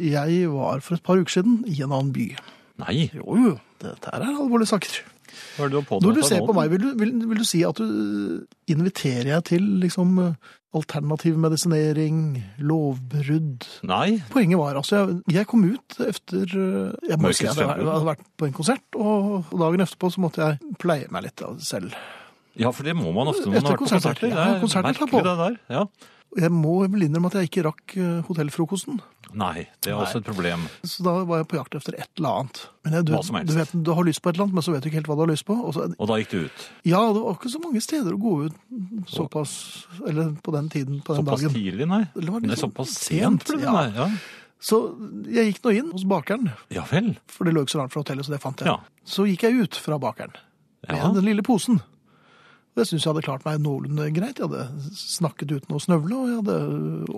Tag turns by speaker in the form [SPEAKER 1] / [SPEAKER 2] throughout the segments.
[SPEAKER 1] Jeg var for et par uker siden i en annen by.
[SPEAKER 2] Nei,
[SPEAKER 1] Jo, jo, dette her er alvorlige saker.
[SPEAKER 2] hva er det du har pådratt
[SPEAKER 1] Når du
[SPEAKER 2] deg
[SPEAKER 1] ser
[SPEAKER 2] nå?
[SPEAKER 1] på meg, vil du, vil, vil du si at du inviterer jeg til liksom alternativ medisinering, lovbrudd?
[SPEAKER 2] Nei,
[SPEAKER 1] Poenget var altså, jeg, jeg kom ut efter eh, Jeg må
[SPEAKER 2] Mørkets
[SPEAKER 1] si at jeg
[SPEAKER 2] frembrudd.
[SPEAKER 1] hadde vært på en konsert, og dagen etterpå så måtte jeg pleie meg litt av selv.
[SPEAKER 2] ja, for det må man ofte når
[SPEAKER 1] Etter
[SPEAKER 2] man har vært på konserter.
[SPEAKER 1] konserter,
[SPEAKER 2] Det
[SPEAKER 1] ja,
[SPEAKER 2] er
[SPEAKER 1] konserter tar
[SPEAKER 2] merkelig,
[SPEAKER 1] på.
[SPEAKER 2] det der. Ja.
[SPEAKER 1] Jeg må vel innrømme at jeg ikke rakk eh, hotellfrokosten,
[SPEAKER 2] Nei, det er
[SPEAKER 1] Nei.
[SPEAKER 2] også et problem.
[SPEAKER 1] så da var jeg på jakt efter et eller annet. Men jeg, du,
[SPEAKER 2] Hva som helst.
[SPEAKER 1] du, vet, du har lyst på et eller annet, men så vet du ikke helt hva du har lyst på. Og så,
[SPEAKER 2] Og da gikk du ut.
[SPEAKER 1] ja, det var ikke så mange steder å gå ut såpass Eller på den tiden, på den
[SPEAKER 2] Såpass
[SPEAKER 1] dagen.
[SPEAKER 2] tidlig, nei.
[SPEAKER 1] Eller var det
[SPEAKER 2] Nei,
[SPEAKER 1] liksom
[SPEAKER 2] såpass sent,
[SPEAKER 1] sent,
[SPEAKER 2] ble det,
[SPEAKER 1] ja.
[SPEAKER 2] nei. Ja.
[SPEAKER 1] Så jeg gikk nå inn hos bakeren,
[SPEAKER 2] ja vel.
[SPEAKER 1] for det lå ikke så langt fra hotellet, så det fant jeg.
[SPEAKER 2] Ja.
[SPEAKER 1] Så gikk jeg ut fra bakeren med
[SPEAKER 2] Ja.
[SPEAKER 1] den lille posen. Og jeg syns jeg hadde klart meg noenlunde greit. Jeg hadde snakket uten å snøvle, og jeg hadde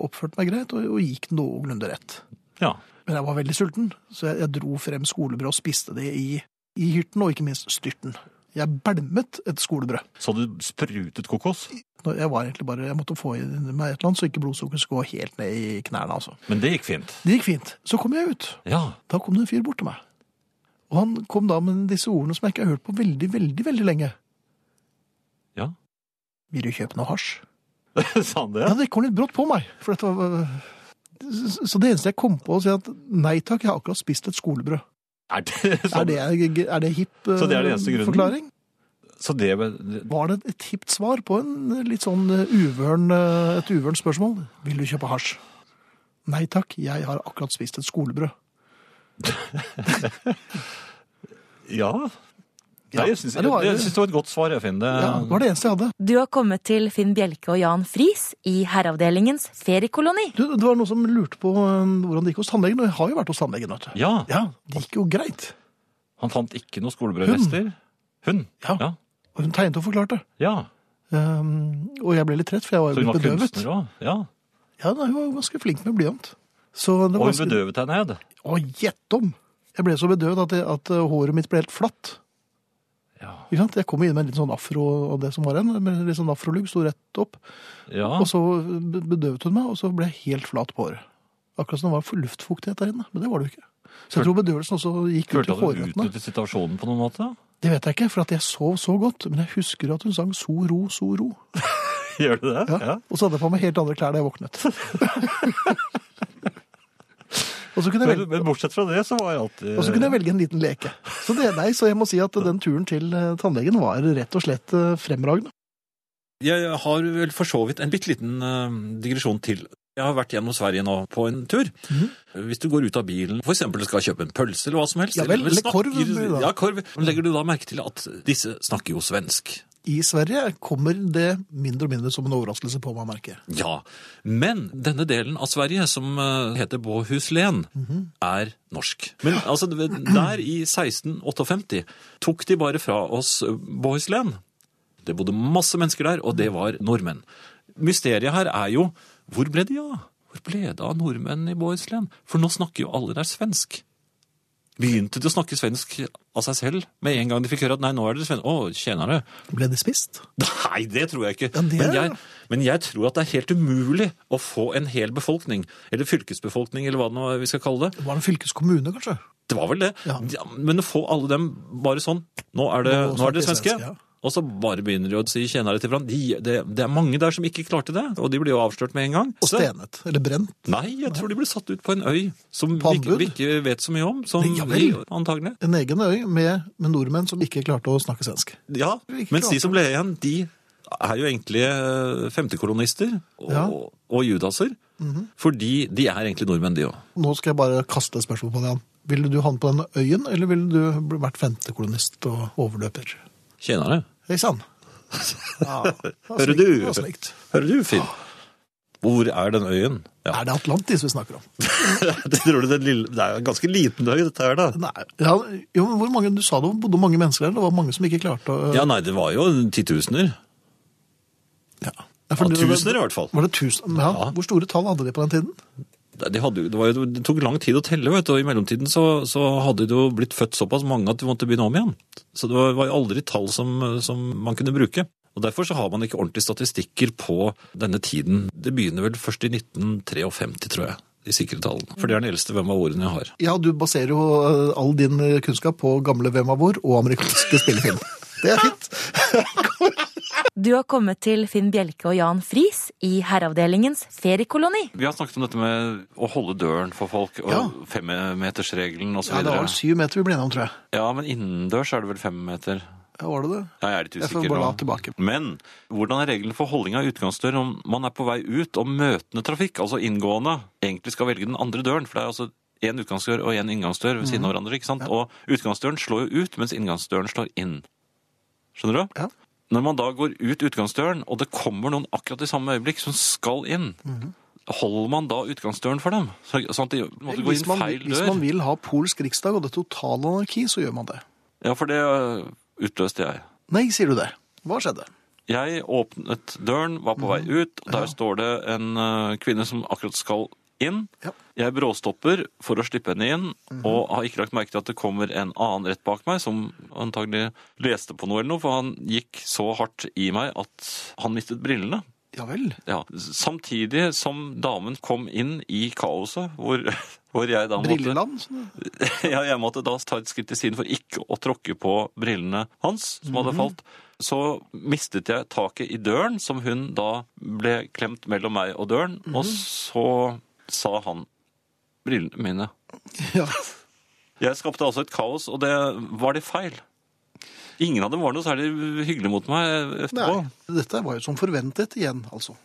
[SPEAKER 1] oppført meg greit og, og gikk noenlunde rett.
[SPEAKER 2] ja.
[SPEAKER 1] Men jeg var veldig sulten, så jeg, jeg dro frem skolebrød og spiste det i, i hyrten, og ikke minst styrten. Jeg bælmet et skolebrød.
[SPEAKER 2] Så du sprutet kokos.
[SPEAKER 1] Når Jeg var egentlig bare, jeg måtte få i meg et eller annet, så ikke blodsukkeret skulle gå helt ned i knærne. altså.
[SPEAKER 2] Men det gikk fint.
[SPEAKER 1] Det gikk fint. Så kom jeg ut.
[SPEAKER 2] Ja.
[SPEAKER 1] Da kom det en fyr bort til meg. Og han kom da med disse ordene som jeg ikke har hørt på veldig, veldig veldig lenge.
[SPEAKER 2] Ja.
[SPEAKER 1] Vil du kjøpe noe hasj?
[SPEAKER 2] Sa han det?
[SPEAKER 1] Ja, det kom litt brått på meg. For dette var... Så det eneste jeg kom på å si at nei takk, jeg har akkurat spist et skolebrød.
[SPEAKER 2] Er det
[SPEAKER 1] Er
[SPEAKER 2] sånn?
[SPEAKER 1] det, er det hipp eh,
[SPEAKER 2] Så det er det eneste grunnen?
[SPEAKER 1] forklaring?
[SPEAKER 2] Så det
[SPEAKER 1] Var det et hipt svar på en litt sånn eh, uvøren, eh, et uvøren spørsmål? Vil du kjøpe hasj? Nei takk, jeg har akkurat spist et skolebrød.
[SPEAKER 2] Ja.
[SPEAKER 1] Ja.
[SPEAKER 2] Nei, jeg syns
[SPEAKER 1] Nei,
[SPEAKER 2] jeg
[SPEAKER 1] det var-
[SPEAKER 2] syns det var et godt svar, jeg, Finn. Det,
[SPEAKER 1] Ja, det var det eneste jeg hadde.
[SPEAKER 3] Du har kommet til Finn Bjelke og Jan Friis i Herreavdelingens feriekoloni.
[SPEAKER 1] Du, det var noen som lurte på eh, hvordan det gikk hos tannlegen, og jeg har jo vært hos tannlegen, vet du.
[SPEAKER 2] ja.
[SPEAKER 1] Ja, det gikk jo greit.
[SPEAKER 2] Han fant ikke noe skolebrødrester. Hun.
[SPEAKER 1] Ja.
[SPEAKER 2] Ja.
[SPEAKER 1] Og hun tegnet og forklarte.
[SPEAKER 2] ja.
[SPEAKER 1] Um, og jeg ble litt trett, for jeg var
[SPEAKER 2] Så hun
[SPEAKER 1] jo
[SPEAKER 2] var
[SPEAKER 1] litt bedøvet.
[SPEAKER 2] kunstner òg. Ja.
[SPEAKER 1] Ja, nei, hun var ganske flink med blyant. Så det
[SPEAKER 2] Og
[SPEAKER 1] var
[SPEAKER 2] hun bedøvet deg ned.
[SPEAKER 1] Å, gjett om! Jeg ble så bedøvet at, jeg, at eh, håret mitt ble helt flatt.
[SPEAKER 2] Ja.
[SPEAKER 1] Ikke sant? Jeg kom inn med en litt sånn afro og det som var en, med litt sånn afrolugg, sto rett opp.
[SPEAKER 2] ja.
[SPEAKER 1] Og så be- bedøvet hun meg, og så ble jeg helt flat på håret. Akkurat som det var for luftfuktighet der inne, men det var det jo ikke. Så jeg tror bedøvelsen også gikk ut
[SPEAKER 2] Følte
[SPEAKER 1] i
[SPEAKER 2] at hun
[SPEAKER 1] hårrøttene.
[SPEAKER 2] utnyttet situasjonen på noen måte?
[SPEAKER 1] Det vet jeg ikke, for at jeg sov så godt, men jeg husker at hun sang so ro, so ro.
[SPEAKER 2] Gjør du det?
[SPEAKER 1] Ja. Og så hadde jeg på meg helt andre klær da jeg våknet. og så kunne jeg
[SPEAKER 2] Men,
[SPEAKER 1] velge...
[SPEAKER 2] men bortsett fra det, så var jeg alltid
[SPEAKER 1] Og så kunne jeg velge en liten leke. Så, det, nei, så jeg må si at den turen til eh, tannlegen var rett og slett eh, fremragende.
[SPEAKER 2] Jeg har vel for så vidt en bitte liten eh, digresjon til. Jeg har vært gjennom Sverige nå på en tur. Hvis du går ut av bilen, for eksempel skal kjøpe en pølse eller hva som helst.
[SPEAKER 1] Ja vel,
[SPEAKER 2] eller
[SPEAKER 1] eller korv blir det da.
[SPEAKER 2] Ja, korv. Legger du da merke til at disse snakker jo svensk?
[SPEAKER 1] I Sverige kommer det mindre og mindre som en overraskelse på meg, merker jeg.
[SPEAKER 2] Ja. Men denne delen av Sverige, som eh, heter Båhuslen, er norsk. Men altså, det- der i 1658 tok de bare fra oss Båhuslen. Det bodde masse mennesker der, og det var nordmenn. Mysteriet her er jo hvor ble de av? Hvor ble det av nordmenn i Båhuslen? For nå snakker jo alle der svensk. Begynte de å snakke svensk av seg selv med en gang de fikk høre at nei, nå er det svensk. Å, tjenere.
[SPEAKER 1] Ble det spist?
[SPEAKER 2] Nei, det tror jeg ikke.
[SPEAKER 1] Ja, det-
[SPEAKER 2] men, jeg, men jeg tror at det er helt umulig å få en hel befolkning, eller fylkesbefolkning, eller hva det nå er vi skal kalle det.
[SPEAKER 1] Det var en fylkeskommune, kanskje?
[SPEAKER 2] Det var vel det.
[SPEAKER 1] Ja.
[SPEAKER 2] Ja, men å få alle dem bare sånn Nå er det,
[SPEAKER 1] Nå
[SPEAKER 2] nå er det
[SPEAKER 1] snakker
[SPEAKER 2] svenske.
[SPEAKER 1] svenske, ja.
[SPEAKER 2] Og så bare begynner de å si tjenere til hverandre. De, det, det er mange der som ikke klarte det, og de ble jo avslørt med en gang.
[SPEAKER 1] Og
[SPEAKER 2] Så-
[SPEAKER 1] stenet? Eller brent?
[SPEAKER 2] Nei, jeg tror de ble satt ut på en øy som
[SPEAKER 1] På
[SPEAKER 2] vi, ikke-
[SPEAKER 1] anbud?
[SPEAKER 2] vi ikke vet så mye om. Som
[SPEAKER 1] Ja
[SPEAKER 2] vi,
[SPEAKER 1] vel.
[SPEAKER 2] antagelig.
[SPEAKER 1] En egen øy med, med nordmenn som ikke klarte å snakke svensk.
[SPEAKER 2] Ja,
[SPEAKER 1] Ikke
[SPEAKER 2] mens de
[SPEAKER 1] klart.
[SPEAKER 2] som ble igjen, de er jo egentlig eh, femtekolonister og,
[SPEAKER 1] Ja.
[SPEAKER 2] og judaser. Fordi de er egentlig nordmenn, de òg.
[SPEAKER 1] Nå skal jeg bare kaste et spørsmål på deg, Jan. Ville du havnet på denne øyen, eller ville du bl- vært femtekolonist og overløper?
[SPEAKER 2] Tjenere.
[SPEAKER 1] Hei sann! Ja, det var
[SPEAKER 2] Hører
[SPEAKER 1] slikt,
[SPEAKER 2] du?
[SPEAKER 1] det var slikt.
[SPEAKER 2] Hører du, Finn? Hvor er den øyen? Ja,
[SPEAKER 1] Er det Atlantis vi snakker om?
[SPEAKER 2] det tror du den lille Det er jo en ganske liten øy, dette her, da.
[SPEAKER 1] Nei, ja, jo, men hvor mange, Du sa det bodde mange mennesker der. Det var mange som ikke klarte å
[SPEAKER 2] Ja, nei, det var jo titusener.
[SPEAKER 1] Ja. Ja, for
[SPEAKER 2] Ja,
[SPEAKER 1] det-
[SPEAKER 2] tusener i hvert fall.
[SPEAKER 1] Var det tusen? Ja.
[SPEAKER 2] Ja.
[SPEAKER 1] Hvor store tall hadde de på den tiden?
[SPEAKER 2] De hadde, jo- det, var jo, det tok lang tid å telle, vet du, og i mellomtiden så, så hadde det jo blitt født såpass mange at de måtte begynne om igjen. Så det var, var jo aldri tall som, som man kunne bruke. Og Derfor så har man ikke ordentlige statistikker på denne tiden. Det begynner vel først i 1953, tror jeg. de sikre tallene. For det er den eldste hvem av ordene jeg har.
[SPEAKER 1] Ja, du baserer jo eh, all din eh, kunnskap på gamle Hvem av vår og amerikanske spillefilm. Det er fint.
[SPEAKER 3] Du har kommet til Finn Bjelke og Jan Friis i Herreavdelingens feriekoloni.
[SPEAKER 2] Vi har snakket om dette med å holde døren for folk, og
[SPEAKER 1] Ja.
[SPEAKER 2] femmetersregelen osv.
[SPEAKER 1] Ja, det var vel syv meter vi ble enige om, tror jeg.
[SPEAKER 2] ja, men innendørs er det vel fem meter?
[SPEAKER 1] Ja, var det det?
[SPEAKER 2] Jeg er litt
[SPEAKER 1] Jeg får
[SPEAKER 2] usikker
[SPEAKER 1] bare
[SPEAKER 2] nå.
[SPEAKER 1] la tilbake.
[SPEAKER 2] Men hvordan er reglene for holding av utgangsdør om man er på vei ut og møtende trafikk, altså inngående, egentlig skal velge den andre døren? For det er altså én utgangsdør og én inngangsdør ved siden
[SPEAKER 1] Mhm.
[SPEAKER 2] av hverandre. ikke sant? Og utgangsdøren slår jo ut, mens inngangsdøren slår inn. Skjønner du?
[SPEAKER 1] Ja.
[SPEAKER 2] Når man da går ut utgangsdøren, og det kommer noen akkurat i samme øyeblikk som skal inn,
[SPEAKER 1] Mhm.
[SPEAKER 2] holder man da utgangsdøren for dem? Så- Sånn at de måtte gå
[SPEAKER 1] Hvis
[SPEAKER 2] inn
[SPEAKER 1] man,
[SPEAKER 2] feil
[SPEAKER 1] hvis man
[SPEAKER 2] dør?
[SPEAKER 1] vil ha polsk riksdag og det totale anarki, så gjør man det.
[SPEAKER 2] Ja, for det øh, utløste jeg.
[SPEAKER 1] Nei, sier du det. Hva skjedde?
[SPEAKER 2] Jeg åpnet døren, var på vei ut, og der står det en eh, kvinne som akkurat skal inn.
[SPEAKER 1] Ja.
[SPEAKER 2] Jeg bråstopper for å slippe henne inn, og har ikke lagt merke til at det kommer en annen rett bak meg, som antagelig leste på noe eller noe, for han gikk så hardt i meg at han mistet brillene.
[SPEAKER 1] Ja vel.
[SPEAKER 2] Ja. Samtidig som damen kom inn i kaoset, hvor, hvor jeg da måtte...
[SPEAKER 1] Brilleland?
[SPEAKER 2] Ja, jeg måtte da ta et skritt til siden for ikke å tråkke på brillene hans, som
[SPEAKER 1] Mhm.
[SPEAKER 2] hadde falt. Så mistet jeg taket i døren, som hun da ble klemt mellom meg og døren.
[SPEAKER 1] Mhm.
[SPEAKER 2] Og så sa han brillene mine.
[SPEAKER 1] Ja.
[SPEAKER 2] Jeg skapte altså et kaos, og det var det feil. Ingen av dem var noe særlig hyggelig mot meg
[SPEAKER 1] Nei.
[SPEAKER 2] etterpå.
[SPEAKER 1] Dette var jo som forventet igjen, altså.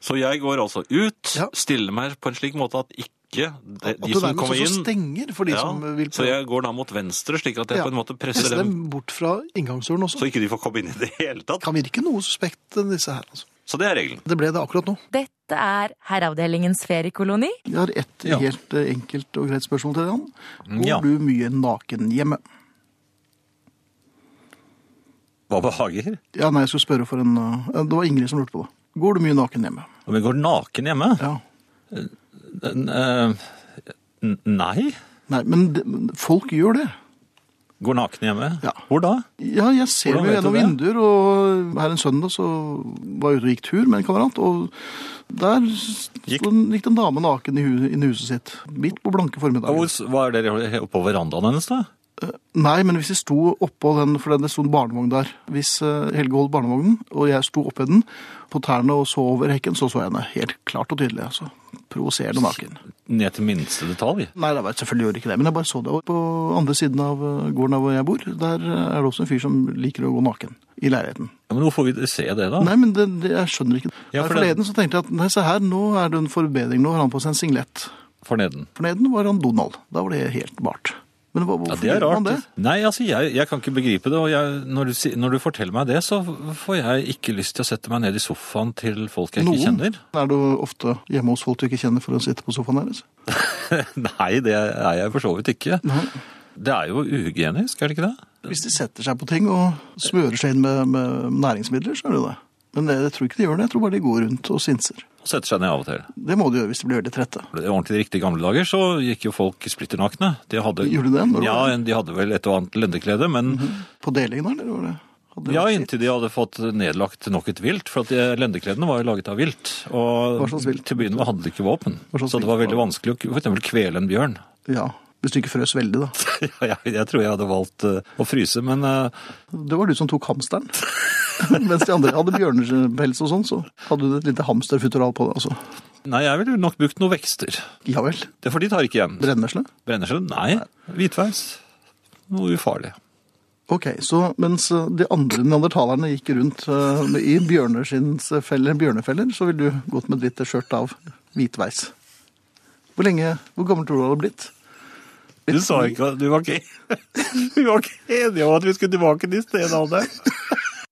[SPEAKER 2] Så jeg går altså ut,
[SPEAKER 1] Ja.
[SPEAKER 2] stiller meg på en slik måte at ikke de,
[SPEAKER 1] At
[SPEAKER 2] de
[SPEAKER 1] du
[SPEAKER 2] som
[SPEAKER 1] nærmest
[SPEAKER 2] kommer
[SPEAKER 1] også
[SPEAKER 2] inn
[SPEAKER 1] stenger for de
[SPEAKER 2] ja,
[SPEAKER 1] som vil
[SPEAKER 2] Så jeg går da mot venstre, slik at jeg
[SPEAKER 1] Ja.
[SPEAKER 2] på en måte presser
[SPEAKER 1] presse
[SPEAKER 2] dem
[SPEAKER 1] dem bort fra inngangsdøren også.
[SPEAKER 2] Så ikke de får komme inn i det hele tatt.
[SPEAKER 1] Kan virke noe suspekt, disse her. altså.
[SPEAKER 2] Så det er regelen.
[SPEAKER 1] Det ble det akkurat nå.
[SPEAKER 3] Dette er Herreavdelingens feriekoloni.
[SPEAKER 1] Jeg har ett
[SPEAKER 2] Ja.
[SPEAKER 1] helt eh, enkelt og greit spørsmål til deg, Jan. Går
[SPEAKER 2] Ja.
[SPEAKER 1] du mye naken hjemme?
[SPEAKER 4] Hva behager?
[SPEAKER 1] Ja, nei, jeg skulle spørre for en eh, Det var Ingrid som lurte på det. Går du mye naken hjemme?
[SPEAKER 4] Om jeg går naken hjemme?
[SPEAKER 1] Ja.
[SPEAKER 4] N- eh, n- nei.
[SPEAKER 1] Nei, men det, men folk gjør det.
[SPEAKER 4] Går naken hjemme?
[SPEAKER 1] Ja.
[SPEAKER 4] Hvor da?
[SPEAKER 1] Ja, jeg ser
[SPEAKER 4] Hvordan
[SPEAKER 1] jo
[SPEAKER 4] vet du
[SPEAKER 1] gjennom vinduer, og her en søndag så var jeg ute og gikk tur med en kamerat, og der gikk,
[SPEAKER 4] Gikk-
[SPEAKER 1] gikk det en dame naken i hu- inn i huset sitt, midt på blanke
[SPEAKER 4] Og
[SPEAKER 1] formiddagen.
[SPEAKER 4] hvor, var dere oppe på verandaen hennes da?
[SPEAKER 1] Nei, men hvis jeg sto oppå den, for det sto en barnevogn der, hvis eh, Helge holdt barnevognen, og jeg sto oppe i den, på tærne og så over hekken, så så jeg henne helt klart og tydelig, altså. Provoserende naken.
[SPEAKER 4] Ned til minste detalj.
[SPEAKER 1] Nei, det var selvfølgelig gjorde ikke det, men jeg bare så det. Og på andre siden av eh, gården der hvor jeg bor, der eh, er det også en fyr som liker å gå naken i leiligheten.
[SPEAKER 4] Ja, men hvorfor vil du se det da?
[SPEAKER 1] Nei, men det, det, jeg skjønner ikke.
[SPEAKER 4] Ja,
[SPEAKER 1] Her
[SPEAKER 4] for det-
[SPEAKER 1] forleden så tenkte jeg at nei, se her, nå er det en forbedring. Nå har han på seg en singlet.
[SPEAKER 4] Forneden.
[SPEAKER 1] Forneden var han Donald. Da var det helt bart. Men hva,
[SPEAKER 4] Ja,
[SPEAKER 1] hvorfor
[SPEAKER 4] det er
[SPEAKER 1] gjør
[SPEAKER 4] rart.
[SPEAKER 1] man det?
[SPEAKER 4] Nei, altså, jeg, jeg kan ikke begripe det, og jeg, når, du, si- når du forteller meg det, så får jeg ikke lyst til å sette meg ned i sofaen til folk jeg ikke kjenner.
[SPEAKER 1] er du ofte hjemme hos folk du ikke kjenner for å sitte på sofaen deres.
[SPEAKER 4] Nei, det er jeg for så vidt ikke. Det er jo uhygienisk, er det ikke det?
[SPEAKER 1] Hvis de setter seg på ting og smører seg inn med, med næringsmidler, så er det jo det. Men jeg, jeg tror ikke de gjør det. Jeg tror bare de går rundt og sinser.
[SPEAKER 4] Og setter seg ned av og til.
[SPEAKER 1] Det må de gjøre hvis de blir veldig trette.
[SPEAKER 4] I ordentlig riktige gamle dager så gikk jo folk splitter nakne. De hadde,
[SPEAKER 1] Gjorde de det? Når det
[SPEAKER 4] ja,
[SPEAKER 1] var-
[SPEAKER 4] en- de hadde vel et og annet lendeklede, men
[SPEAKER 1] På delingen, eller? var det- hadde det
[SPEAKER 4] ja,
[SPEAKER 1] vært-
[SPEAKER 4] inntil de hadde fått nedlagt nok et vilt, for at de, lendekledene var jo laget av vilt. Og
[SPEAKER 1] Hva slags vilt?
[SPEAKER 4] til å begynne med hadde de ikke våpen,
[SPEAKER 1] Hva slags
[SPEAKER 4] så det var
[SPEAKER 1] vilt
[SPEAKER 4] veldig
[SPEAKER 1] var
[SPEAKER 4] vanskelig å ku- for eksempel kvele en bjørn.
[SPEAKER 1] ja. Hvis du ikke frøs veldig, da.
[SPEAKER 4] jeg, jeg tror jeg hadde valgt eh, å fryse, men eh,
[SPEAKER 1] Det var du som tok hamsteren. Mens de andre hadde bjørnepels og sånn, så hadde du et lite hamsterfutteral på det. altså.
[SPEAKER 4] nei, jeg ville nok brukt noen vekster.
[SPEAKER 1] Ja vel.
[SPEAKER 4] Det er for de tar ikke igjen.
[SPEAKER 1] Brennesle.
[SPEAKER 4] Brennesle? Nei. Hvitveis? Noe ufarlig.
[SPEAKER 1] Ok, så mens eh, de andre neandertalerne gikk rundt eh, i bjørneskinnsfeller, bjørnefeller, så ville du gått med et lite skjørt av hvitveis. Hvor lenge, hvor gammel tror du du hadde blitt?
[SPEAKER 4] Du sa ikke at du var ikke, du var ikke enig om at vi skulle tilbake til stedalderen.